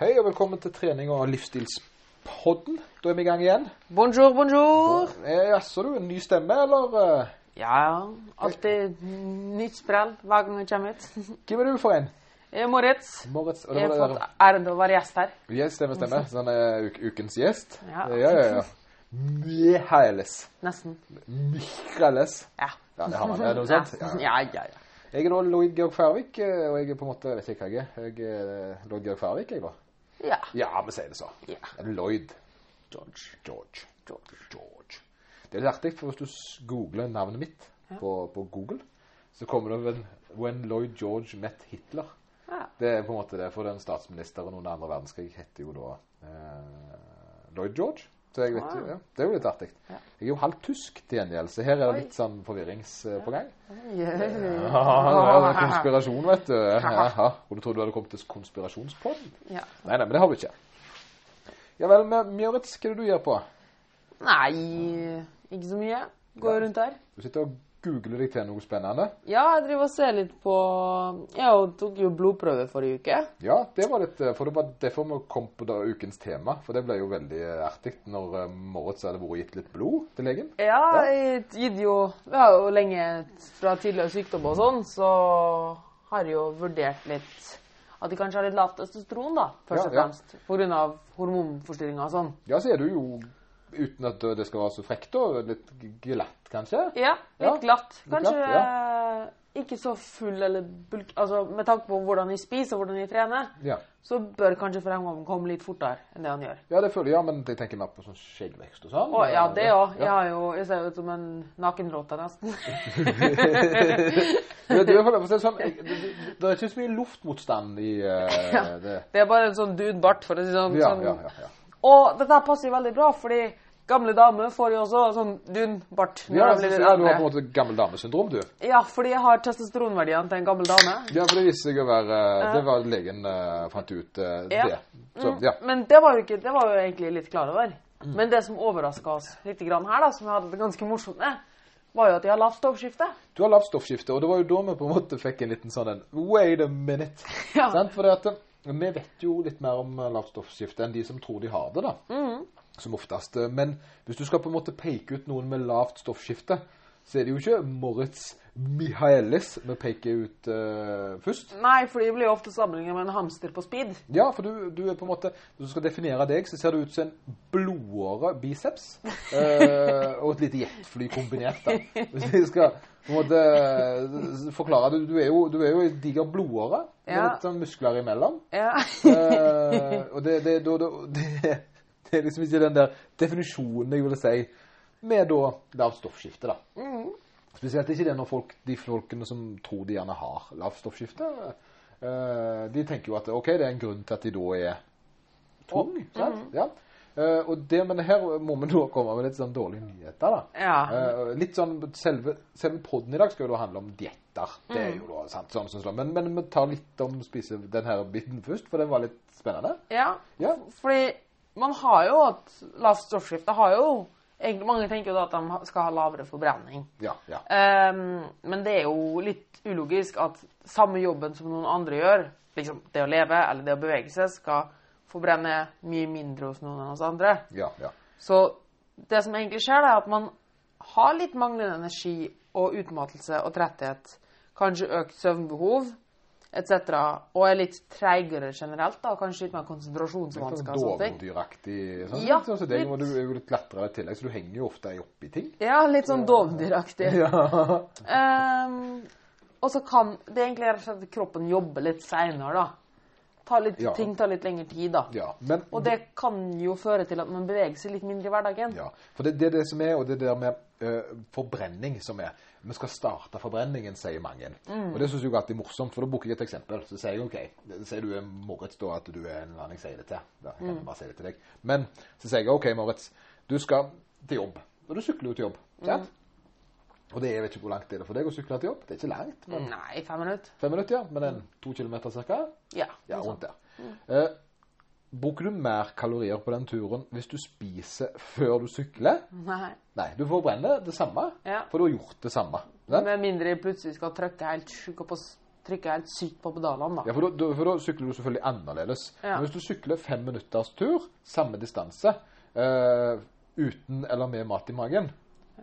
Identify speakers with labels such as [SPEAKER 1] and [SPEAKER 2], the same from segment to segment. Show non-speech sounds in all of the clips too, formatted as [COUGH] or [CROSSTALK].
[SPEAKER 1] Hei og velkommen til trening og livsstilspodden. Da er vi i gang igjen.
[SPEAKER 2] Bonjour, bonjour.
[SPEAKER 1] Eh, Jaså du, en ny stemme, eller? eh,
[SPEAKER 2] Ja, alltid nytt sprell hver gang jeg kommer hit. [LAUGHS]
[SPEAKER 1] Hvem er du for en?
[SPEAKER 2] Jeg er Moritz.
[SPEAKER 1] Moritz. og det
[SPEAKER 2] Jeg har
[SPEAKER 1] var det
[SPEAKER 2] fått æren av å være gjest her.
[SPEAKER 1] der- Yes, stemme, stemme. Sånn er uk ukens gjest.
[SPEAKER 2] Ja.
[SPEAKER 1] Eh, ja, ja. ja. Michaelis.
[SPEAKER 2] Nesten.
[SPEAKER 1] Michaelis.
[SPEAKER 2] Ja.
[SPEAKER 1] Ja, det har man. Er det noe sant?
[SPEAKER 2] Ja,
[SPEAKER 1] Ja.
[SPEAKER 2] ja, ja. ja.
[SPEAKER 1] Jeg er da Lloyd Georg Færvik, eh, og jeg er på en måte, vet ikke hva jeg er. Jeg er eh, Lloyd Georg Færvik, jeg da.
[SPEAKER 2] ja.
[SPEAKER 1] Ja, vi sier det sånn.
[SPEAKER 2] Ja.
[SPEAKER 1] Lloyd
[SPEAKER 2] George.
[SPEAKER 1] George.
[SPEAKER 2] George.
[SPEAKER 1] George. Det er litt artig, for hvis du s- googler navnet mitt på, på Google, så kommer det when, when Lloyd George met Hitler.
[SPEAKER 2] Ja.
[SPEAKER 1] Det er på en måte det, for den statsministeren under andre verdenskrig heter jo da eh, Lloyd George. Så jeg vet, jo-
[SPEAKER 2] Ah.
[SPEAKER 1] ja, det er jo litt artig.
[SPEAKER 2] Ja.
[SPEAKER 1] Jeg er jo halvt tysk til gjengjeld, så her er
[SPEAKER 2] Oi.
[SPEAKER 1] det litt sånn forvirrings eh, på gang. [LAUGHS]
[SPEAKER 2] Ja.
[SPEAKER 1] Ja, det er
[SPEAKER 2] [LAUGHS]
[SPEAKER 1] en konspirasjon, vet du. Ja, og du trodde du hadde kommet til konspirasjonspodden?
[SPEAKER 2] Ja.
[SPEAKER 1] Nei, nei, men det har du ikke. Ja vel, men Mjøritz, hva er det du gjør på?
[SPEAKER 2] Nei, ikke så mye. Går rundt her.
[SPEAKER 1] Du sitter og googler deg til noe spennende.
[SPEAKER 2] Ja, jeg driver og ser litt på Jeg tok jo blodprøve forrige uke.
[SPEAKER 1] Ja, det var litt eh, For det var derfor vi kom på da ukens tema. For det ble jo veldig eh, artig når eh, Moritz hadde vært og gitt litt blod til legen.
[SPEAKER 2] Ja, jeg gitt jo Vi har jo lenge fra tidligere sykdom og sånn, så har jeg jo vurdert litt at de kanskje har litt lavt østestron, da, først
[SPEAKER 1] Ja,
[SPEAKER 2] og
[SPEAKER 1] ja.
[SPEAKER 2] fremst. På grunn av hormonforstyrringer og sånn.
[SPEAKER 1] Ja, så er du jo, uten at eh, det skal være så frekt, da, litt glatt, kanskje?
[SPEAKER 2] Ja,
[SPEAKER 1] Ja,
[SPEAKER 2] litt glatt.
[SPEAKER 1] litt
[SPEAKER 2] Kanskje
[SPEAKER 1] glatt,
[SPEAKER 2] ikke så full eller bulk... Altså med tanke på hvordan jeg spiser og hvordan jeg trener,
[SPEAKER 1] Ja.
[SPEAKER 2] så bør kanskje fremgangen komme litt fortere enn det han gjør.
[SPEAKER 1] ja, det føler jeg, ja, men jeg tenker mer på sånn skjeggvekst og sånn.
[SPEAKER 2] Å, ja, det òg. Jeg
[SPEAKER 1] Ja.
[SPEAKER 2] har jo Jeg ser jo ut som en nakenrotte, nesten. [LAUGHS]
[SPEAKER 1] Ja, det, er i hvert fall- for å si det, sånn, jeg- det, det, det er ikke så mye luftmotstand i eh,
[SPEAKER 2] [LAUGHS] Ja.
[SPEAKER 1] det.
[SPEAKER 2] Det er bare en sånn dude-bart, for å si det sånn.
[SPEAKER 1] Ja,
[SPEAKER 2] sånn
[SPEAKER 1] ja, ja, ja.
[SPEAKER 2] Og dette her passer jo veldig bra, fordi gamle damer får jo også sånn dun-bart. når
[SPEAKER 1] Ja,
[SPEAKER 2] de
[SPEAKER 1] så,
[SPEAKER 2] blir
[SPEAKER 1] ja, du
[SPEAKER 2] litt
[SPEAKER 1] har på en
[SPEAKER 2] eldre.
[SPEAKER 1] måte gammel damesyndrom, du.
[SPEAKER 2] ja, fordi jeg har testosteronverdiene til en gammel dame.
[SPEAKER 1] Ja, for det viste seg å være eh, Det var legen eh, fant ut eh,
[SPEAKER 2] Ja. Mm.
[SPEAKER 1] det. Så, ja.
[SPEAKER 2] Men det var jo ikke, det var jo egentlig litt klar over. Men det som overraska oss litt grann her, da, som vi hadde det ganske morsomt med, var jo at de har lavt stoppskifte.
[SPEAKER 1] Du har lavt stoffskifte, og det var jo da vi på en måte fikk en liten sånn en Wait a minute.
[SPEAKER 2] [LAUGHS] Ja.
[SPEAKER 1] Sant? For det at eh, vi vet jo litt mer om eh, lavt stoffskifte enn de som tror de har det, da.
[SPEAKER 2] Mm.
[SPEAKER 1] Som oftest. eh, Men hvis du skal på en måte peke ut noen med lavt stoffskifte, så er det jo ikke Moritz Michaelis vi peker ut eh, først.
[SPEAKER 2] Nei, for de blir jo ofte sammenlignet med en hamster på speed.
[SPEAKER 1] Ja, for du, du er på en måte Hvis du skal definere deg, så ser du ut som en blodåre biceps. eh, og et lite jetfly kombinert, da. Hvis vi skal på en måte eh, forklare det. Du er jo, du er jo en diger blodåre med
[SPEAKER 2] Ja.
[SPEAKER 1] litt sånn muskler imellom.
[SPEAKER 2] Ja. [LAUGHS]
[SPEAKER 1] Eh, og det, det, da- da- det, det er liksom ikke den der definisjonen jeg ville si med da lavt stoffskifte, da. Spesielt ikke det når folk, de folkene som tror de gjerne har lavt stoffskifte, eh, de tenker jo at ok, det er en grunn til at de da er tung. sant?
[SPEAKER 2] Mm.
[SPEAKER 1] Ja. Eh, og det, men her må vi da komme med litt sånn dårlige nyheter, da.
[SPEAKER 2] ja.
[SPEAKER 1] Eh, litt sånn, selve, selve podden i dag skal jo da handle om dietter. Det er jo
[SPEAKER 2] Mm.
[SPEAKER 1] da sant, sånn, som sånn. Men, men vi tar litt om spise den her biten først, for det var litt spennende.
[SPEAKER 2] Ja.
[SPEAKER 1] Ja.
[SPEAKER 2] Fordi man har jo hatt lavt stoffskifte har jo egentlig, Mange tenker jo da at de ha- skal ha lavere forbrenning.
[SPEAKER 1] Ja, ja.
[SPEAKER 2] Ehm, men det er jo litt ulogisk at samme jobben som noen andre gjør, liksom det å leve eller det å bevege seg, skal forbrenne mye mindre hos noen enn hos andre.
[SPEAKER 1] ja, ja.
[SPEAKER 2] Så det som egentlig skjer, da, er at man har litt manglende energi og utmattelse og tretthet, kanskje økt søvnbehov etc., og er litt treigere generelt, da, kanskje litt mer
[SPEAKER 1] Litt
[SPEAKER 2] konsentrasjonsvansker
[SPEAKER 1] sånn
[SPEAKER 2] og sånne ting.
[SPEAKER 1] dovendyraktig. Sånn,
[SPEAKER 2] Ja,
[SPEAKER 1] sånn, som deg,
[SPEAKER 2] litt.
[SPEAKER 1] og du er jo litt lettere i tillegg, så du henger jo ofte oppi ting.
[SPEAKER 2] Ja, litt sånn dovendyraktig.
[SPEAKER 1] [LAUGHS] Ja.
[SPEAKER 2] Ehm, og så kan det er egentlig rett og slett at kroppen jobber litt seinere, da. Ta litt,
[SPEAKER 1] Ja.
[SPEAKER 2] Ting tar litt lengre tid, da.
[SPEAKER 1] ja. Men
[SPEAKER 2] Og det kan jo føre til at man beveger seg litt mindre i hverdagen.
[SPEAKER 1] Ja, for det, det er det som er, og det er det med eh, forbrenning som er. Vi skal starte forbrenningen, sier mange. Og det synes jeg jo alltid er morsomt, for da bruker jeg et eksempel. Så sier jeg ok, det- sier du er Moritz da at du er en eller annen jeg sier det til. Da kan jeg bare si det til deg. Men så sier jeg ok, Moritz, du skal til jobb. Og du sykler jo til jobb. sant? Og det, jeg vet ikke hvor langt det er for deg å sykle til jobb. Det er ikke langt. men
[SPEAKER 2] Nei, fem minutter.
[SPEAKER 1] Fem minutter, ja. Men en to kilometer cirka.
[SPEAKER 2] Ja.
[SPEAKER 1] Ja, rundt der. Eh, bruker du mer kalorier på den turen hvis du spiser før du sykler?
[SPEAKER 2] Nei.
[SPEAKER 1] Nei, du forbrenner det samme,
[SPEAKER 2] Ja.
[SPEAKER 1] for du har gjort det samme. Sant?
[SPEAKER 2] Med mindre jeg plutselig skal trykke helt sjukt på s- trykker helt sykt på pedalene, da.
[SPEAKER 1] Ja, for da, da- for da sykler du selvfølgelig annerledes.
[SPEAKER 2] Ja.
[SPEAKER 1] Men hvis du sykler fem minutters tur, samme distanse, eh, uten eller med mat i magen,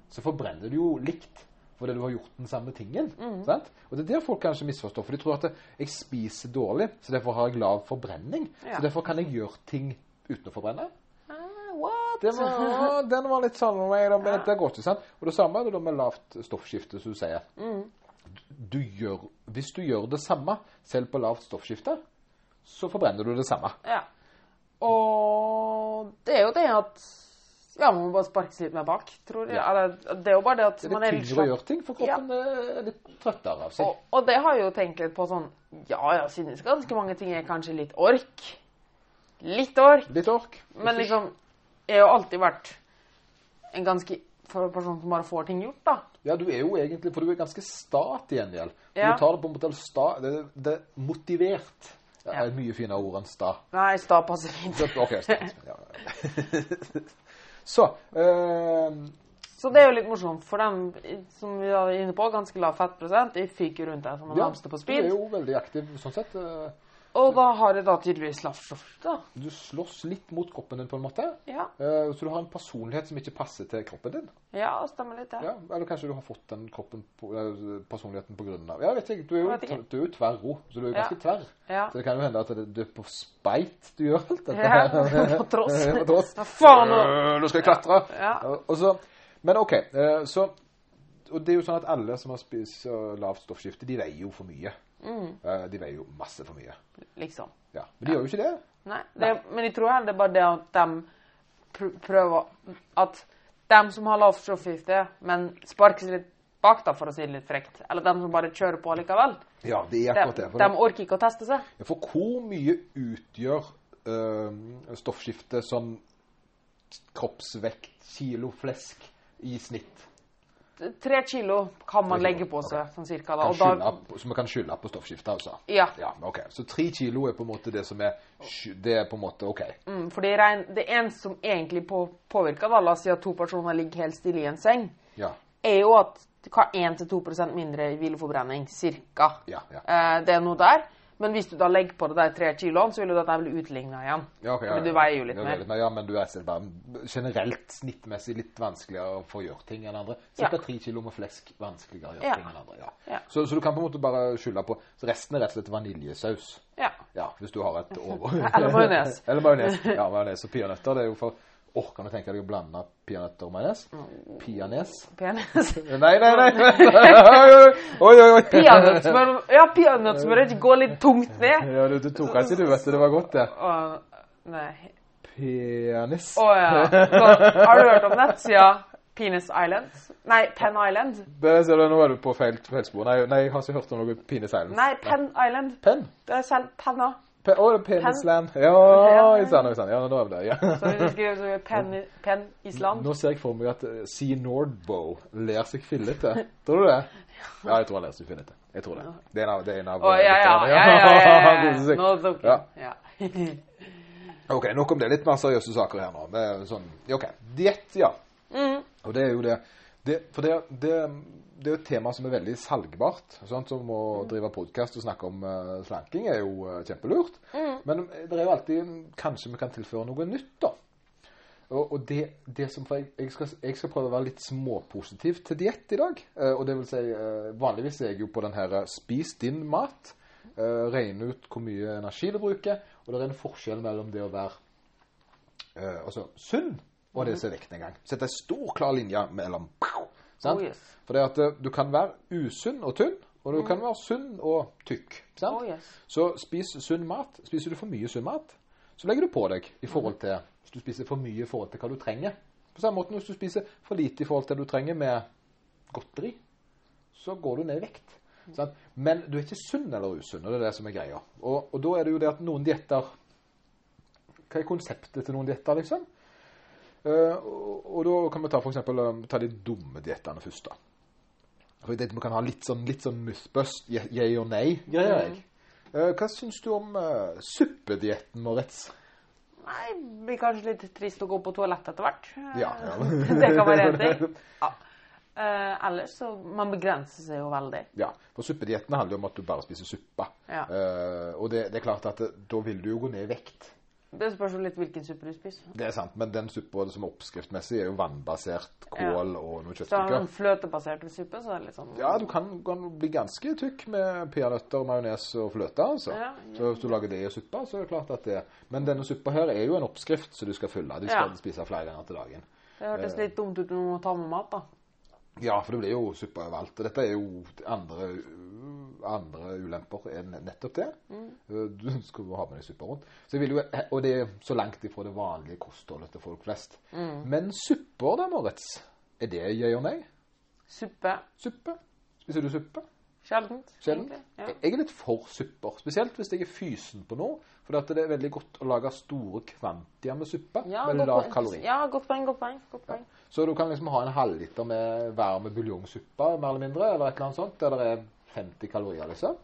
[SPEAKER 1] så forbrenner du jo likt fordi du har gjort den samme tingen.
[SPEAKER 2] Mhm.
[SPEAKER 1] Sant? Og det er der folk kanskje misforstår, for de tror at det- jeg spiser dårlig, så derfor har jeg lav forbrenning.
[SPEAKER 2] Ja.
[SPEAKER 1] Så derfor kan jeg gjøre ting uten å forbrenne.
[SPEAKER 2] Ah, what?
[SPEAKER 1] Det [LAUGHS] var, å, den var litt sånn men dette går ikke, sant? Og det samme er det da med lavt stoffskifte, som du sier.
[SPEAKER 2] Mm.
[SPEAKER 1] Du gjør, hvis du gjør det samme, selv på lavt stoffskifte, så forbrenner du det samme.
[SPEAKER 2] Ja. Og det er jo det at Ja, man må bare sparkes litt mer bak, tror jeg.
[SPEAKER 1] Ja.
[SPEAKER 2] Eller, det er jo bare det at
[SPEAKER 1] Det
[SPEAKER 2] man
[SPEAKER 1] er
[SPEAKER 2] er
[SPEAKER 1] litt
[SPEAKER 2] litt
[SPEAKER 1] tyngre å
[SPEAKER 2] slapp.
[SPEAKER 1] gjøre ting, for kroppen eh, er litt trøttere av seg.
[SPEAKER 2] Og, og det har jeg jo tenkt litt på sånn Ja, jeg synes ganske mange ting er kanskje litt ork. Litt ork.
[SPEAKER 1] Litt ork.
[SPEAKER 2] Men liksom Jeg har jo alltid vært en ganske for en person som bare får ting gjort, da.
[SPEAKER 1] Ja, du er jo egentlig, for du er ganske sta til gjengjeld.
[SPEAKER 2] Ja.
[SPEAKER 1] Du tar det på en måte sta, det, det er motivert. Det er
[SPEAKER 2] Ja.
[SPEAKER 1] et mye finere ord enn sta.
[SPEAKER 2] Nei, sta passer fint.
[SPEAKER 1] Så- Ok, sta.
[SPEAKER 2] [LAUGHS]
[SPEAKER 1] Ja. Så, eh,
[SPEAKER 2] Så det er jo litt morsomt, for dem i- som vi var inne på, ganske lav fettprosent, de fyker rundt der som en hamster på
[SPEAKER 1] Du
[SPEAKER 2] speed.
[SPEAKER 1] er jo veldig aktiv sånn sett. Eh,
[SPEAKER 2] Og da har de da tydeligvis lavt stoff, da.
[SPEAKER 1] Du slåss litt mot kroppen din, på en måte.
[SPEAKER 2] Ja,
[SPEAKER 1] Eh, Så du har en personlighet som ikke passer til kroppen din.
[SPEAKER 2] ja stemmer litt, det.
[SPEAKER 1] Ja, eller kanskje du har fått den kroppen på, eh, personligheten på grunn av Ja, vet ikke. Du er jo,
[SPEAKER 2] Jeg vet ikke.
[SPEAKER 1] du er jo tverro, så du er jo
[SPEAKER 2] Ja.
[SPEAKER 1] ganske tverr.
[SPEAKER 2] Ja.
[SPEAKER 1] Så det kan jo hende at det, du er på speit du gjør alt dette.
[SPEAKER 2] Ja,
[SPEAKER 1] her.
[SPEAKER 2] [LAUGHS] på tross.
[SPEAKER 1] [LAUGHS] på tross.
[SPEAKER 2] Hva faen, nå?
[SPEAKER 1] Øh, nå skal jeg klatre!
[SPEAKER 2] Ja.
[SPEAKER 1] Eh, Og så, men OK. eh, Så Og det er jo sånn at alle som har spist eh, lavt stoffskifte, de veier jo for mye.
[SPEAKER 2] Mm.
[SPEAKER 1] Eh, De veier jo masse for mye.
[SPEAKER 2] Liksom.
[SPEAKER 1] Ja. Men de gjør jo ikke det.
[SPEAKER 2] Nei, det, men jeg tror heller det er bare det at de pr prøver At de som har lavt stoffskifte, men sparkes litt bak, da, for å si det litt frekt, eller de som bare kjører på likevel,
[SPEAKER 1] Ja, det er
[SPEAKER 2] de,
[SPEAKER 1] akkurat det. For,
[SPEAKER 2] de orker ikke å teste seg.
[SPEAKER 1] Ja, for hvor mye utgjør øh, stoffskiftet som kroppsvekt, kilo flesk i snitt?
[SPEAKER 2] Tre kilo kan man
[SPEAKER 1] Tre kilo,
[SPEAKER 2] legge på seg, sånn cirka. da.
[SPEAKER 1] Kan
[SPEAKER 2] Og da
[SPEAKER 1] skylde på- Som man kan skylde på stoffskiftet, altså?
[SPEAKER 2] Ja.
[SPEAKER 1] ja. ok. Så tre kilo er på en måte det som er sky- Det er på en måte OK.
[SPEAKER 2] Mm, fordi regn, det eneste som egentlig på, påvirker, da, la oss si at to personer ligger helt stille i en seng,
[SPEAKER 1] Ja.
[SPEAKER 2] er jo at du har 1-2 mindre i hvileforbrenning, cirka.
[SPEAKER 1] Ja, ja.
[SPEAKER 2] Eh, det er noe der. Men hvis du da legger på det der tre kiloene, så vil jo dette bli utligna igjen.
[SPEAKER 1] Ja, ok, ja, ja.
[SPEAKER 2] Fordi du veier jo litt
[SPEAKER 1] Ja,
[SPEAKER 2] mer.
[SPEAKER 1] Ja, men du er selv bare generelt snittmessig litt vanskeligere for å gjøre ting enn andre.
[SPEAKER 2] Ja.
[SPEAKER 1] Cirka tre kilo med flesk vanskeligere å gjøre
[SPEAKER 2] Ja.
[SPEAKER 1] ting enn andre. Ja.
[SPEAKER 2] Ja.
[SPEAKER 1] Så, så du kan på en måte bare skylde på så Resten er rett og slett vaniljesaus.
[SPEAKER 2] Ja.
[SPEAKER 1] Ja, hvis du har
[SPEAKER 2] [LAUGHS]
[SPEAKER 1] et over...
[SPEAKER 2] Eller majones.
[SPEAKER 1] [LAUGHS] Eller majones. Ja, majones og peanøtter. Det er jo for Orker du tenke deg å blande peanøtter og majones?
[SPEAKER 2] Mm.
[SPEAKER 1] Peanes?
[SPEAKER 2] Penis. [LAUGHS]
[SPEAKER 1] Nei, nei, nei! [LAUGHS] Oi, oi, oi!
[SPEAKER 2] Peanøttsmør Ja, peanøttsmør ikke gå litt tungt ned.
[SPEAKER 1] Ja, du, du tok den ikke, du vet det. Det var godt, det.
[SPEAKER 2] Å, nei.
[SPEAKER 1] Penis.
[SPEAKER 2] Å ja. Så, har du hørt om nettsida Penis Island? Nei, Pen Island.
[SPEAKER 1] Det ser du, nå er du på feil, feil spor. Nei, nei, jeg har ikke hørt om noe penis island.
[SPEAKER 2] Nei, Pen Island.
[SPEAKER 1] Pen?
[SPEAKER 2] Det er selv penna.
[SPEAKER 1] Pe Å, det er
[SPEAKER 2] Pen.
[SPEAKER 1] penisland. Ja, i sand, i sand. Ja, nå er vi der.
[SPEAKER 2] Så
[SPEAKER 1] Ja.
[SPEAKER 2] hvis du skriver så pen, pen Island.
[SPEAKER 1] Nå ser jeg for meg at eh, Sea Nordbow ler seg fillete. Tror
[SPEAKER 2] [LAUGHS]
[SPEAKER 1] du det? Ja, jeg tror han ler seg fillete. Jeg tror det. Det er en av, det er en av
[SPEAKER 2] Å,
[SPEAKER 1] eh,
[SPEAKER 2] ja, ja,
[SPEAKER 1] lytterne,
[SPEAKER 2] ja,
[SPEAKER 1] [LAUGHS]
[SPEAKER 2] ja, [LAUGHS] ja,
[SPEAKER 1] Han koser
[SPEAKER 2] ja.
[SPEAKER 1] seg.
[SPEAKER 2] Nå tok jeg. Ja. [LAUGHS]
[SPEAKER 1] Ok, nok om det. Litt mer seriøse saker her nå. Det er sånn, ja, ok, Diett, ja. Og det er jo det, det For det, det, det er jo et tema som er veldig salgbart. Sant? Som å drive podkast og snakke om eh, slanking er jo eh, kjempelurt. Men det er jo alltid Kanskje vi kan tilføre noe nytt, da. Og, og det, det som for jeg, jeg, skal, jeg skal prøve å være litt småpositiv til diett i dag. Eh, og det vil si, eh, vanligvis er jeg jo på den her eh, spis din mat, eh, regne ut hvor mye energi du bruker, og det er en forskjell mellom det å være eh, altså, sunn og det som er vekten en gang. Sett en stor, klar linje mellom. Sant?
[SPEAKER 2] Oh, yes.
[SPEAKER 1] For det at eh, du kan være usunn og tynn, og du kan være sunn og tykk. Sant?
[SPEAKER 2] Oh, yes.
[SPEAKER 1] Så spis sunn mat. Spiser du for mye sunn mat, så legger du på deg i forhold til Hvis du spiser for mye i forhold til hva du trenger. På samme måte hvis du spiser for lite i forhold til det du trenger med godteri, så går du ned i vekt. Sant? Men du er ikke sunn eller usunn, og det er det som er greia. Og, og da er det jo det at noen dietter Hva er konseptet til noen dietter, liksom? Eh, og, og da kan vi ta for eksempel eh, ta de dumme diettene først, da. For det, vi kan ha litt sånn, litt sånn mythbust, je- yay og nei-greier. jeg. Eh, Hva syns du om uh, suppedietten, Moritz?
[SPEAKER 2] Nei, [LAUGHS] blir kanskje litt trist å gå på toalett etter hvert.
[SPEAKER 1] Ja, ja.
[SPEAKER 2] [LAUGHS] det kan være en ting. Ja. Eh, ellers så Man begrenser seg jo veldig.
[SPEAKER 1] [LAUGHS] Ja, for suppediettene handler jo om at du bare spiser suppe.
[SPEAKER 2] Ja.
[SPEAKER 1] Eh, og det, det er klart at eh, da vil du jo gå ned i vekt.
[SPEAKER 2] Det spørs jo litt hvilken suppe du spiser.
[SPEAKER 1] Det er sant, men den suppa som er oppskriftmessig, er jo vannbasert kål og noen
[SPEAKER 2] Så har du en
[SPEAKER 1] kjøttstykker.
[SPEAKER 2] fløtebasert suppe, så er det litt sånn
[SPEAKER 1] Ja, du kan, kan bli ganske tykk med peanøtter, majones og fløte. altså.
[SPEAKER 2] Ja,
[SPEAKER 1] Så hvis du lager det i suppa, så er det klart at det Men denne suppa her er jo en oppskrift som du skal følge. Du skal
[SPEAKER 2] Ja.
[SPEAKER 1] spise flere ganger til dagen.
[SPEAKER 2] Det hørtes litt dumt ut å ta med mat, da.
[SPEAKER 1] Ja, for det blir jo suppe overalt. Og dette er jo andre, andre ulemper enn nettopp det.
[SPEAKER 2] Mm.
[SPEAKER 1] Du skal jo ha med deg suppe rundt. Så jeg vil jo, og det er så langt ifra det vanlige kostholdet til folk flest.
[SPEAKER 2] Mm.
[SPEAKER 1] Men supper da, Moritz? Er det jeg og nei?
[SPEAKER 2] Suppe.
[SPEAKER 1] Suppe? Spiser du suppe?
[SPEAKER 2] Sjeldent.
[SPEAKER 1] Sjelden?
[SPEAKER 2] egentlig.
[SPEAKER 1] Jeg jeg er litt for supper. Spesielt hvis jeg er fysen på noe. For at det er veldig godt å lage store kvantier med suppe
[SPEAKER 2] Ja,
[SPEAKER 1] med
[SPEAKER 2] godt
[SPEAKER 1] lav
[SPEAKER 2] poeng.
[SPEAKER 1] kalori.
[SPEAKER 2] Ja, godt poeng, godt poeng. Godt poeng.
[SPEAKER 1] Så du kan liksom ha en halvliter med varm buljongsuppe, mer eller mindre, eller et eller annet sånt, der det er 50 kalorier, liksom.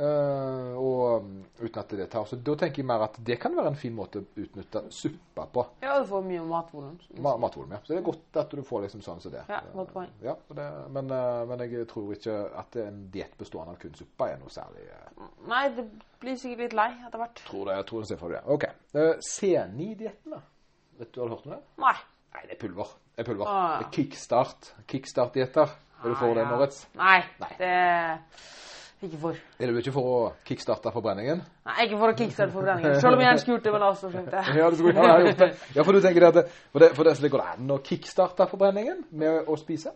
[SPEAKER 1] Eh, og um, uten at det tar Så da tenker jeg mer at det kan være en fin måte å utnytte suppa på.
[SPEAKER 2] Ja, du får mye matvolum.
[SPEAKER 1] Ma matvolum, ja. Så det er godt at du får liksom sånn som det.
[SPEAKER 2] Ja, godt poeng.
[SPEAKER 1] Ja, og det, men, eh, men jeg tror ikke at en diett bestående av kun suppe er noe særlig eh,
[SPEAKER 2] Nei, det blir sikkert litt lei etter hvert.
[SPEAKER 1] Tror det, jeg tror det ser for deg det. OK. Eh, C9-dietten, da. Vet du, har du hørt om det?
[SPEAKER 2] Nei.
[SPEAKER 1] Nei, det er pulver. Det er pulver.
[SPEAKER 2] Ah, ja.
[SPEAKER 1] Det er kickstart. Kickstart-dietter. Er du for det,
[SPEAKER 2] Ja.
[SPEAKER 1] Moritz?
[SPEAKER 2] Nei,
[SPEAKER 1] Nei.
[SPEAKER 2] det er ikke for.
[SPEAKER 1] Er du ikke for å kickstarte forbrenningen?
[SPEAKER 2] Nei, ikke for å kickstarte forbrenningen. Selv om jeg gjerne skulle gjort det, men altså, skjønte jeg.
[SPEAKER 1] Ja, du skulle [LAUGHS] ja, jeg har gjort det. Ja, for du tenker det at det- For det, for det, så det går det an å kickstarte forbrenningen med å spise?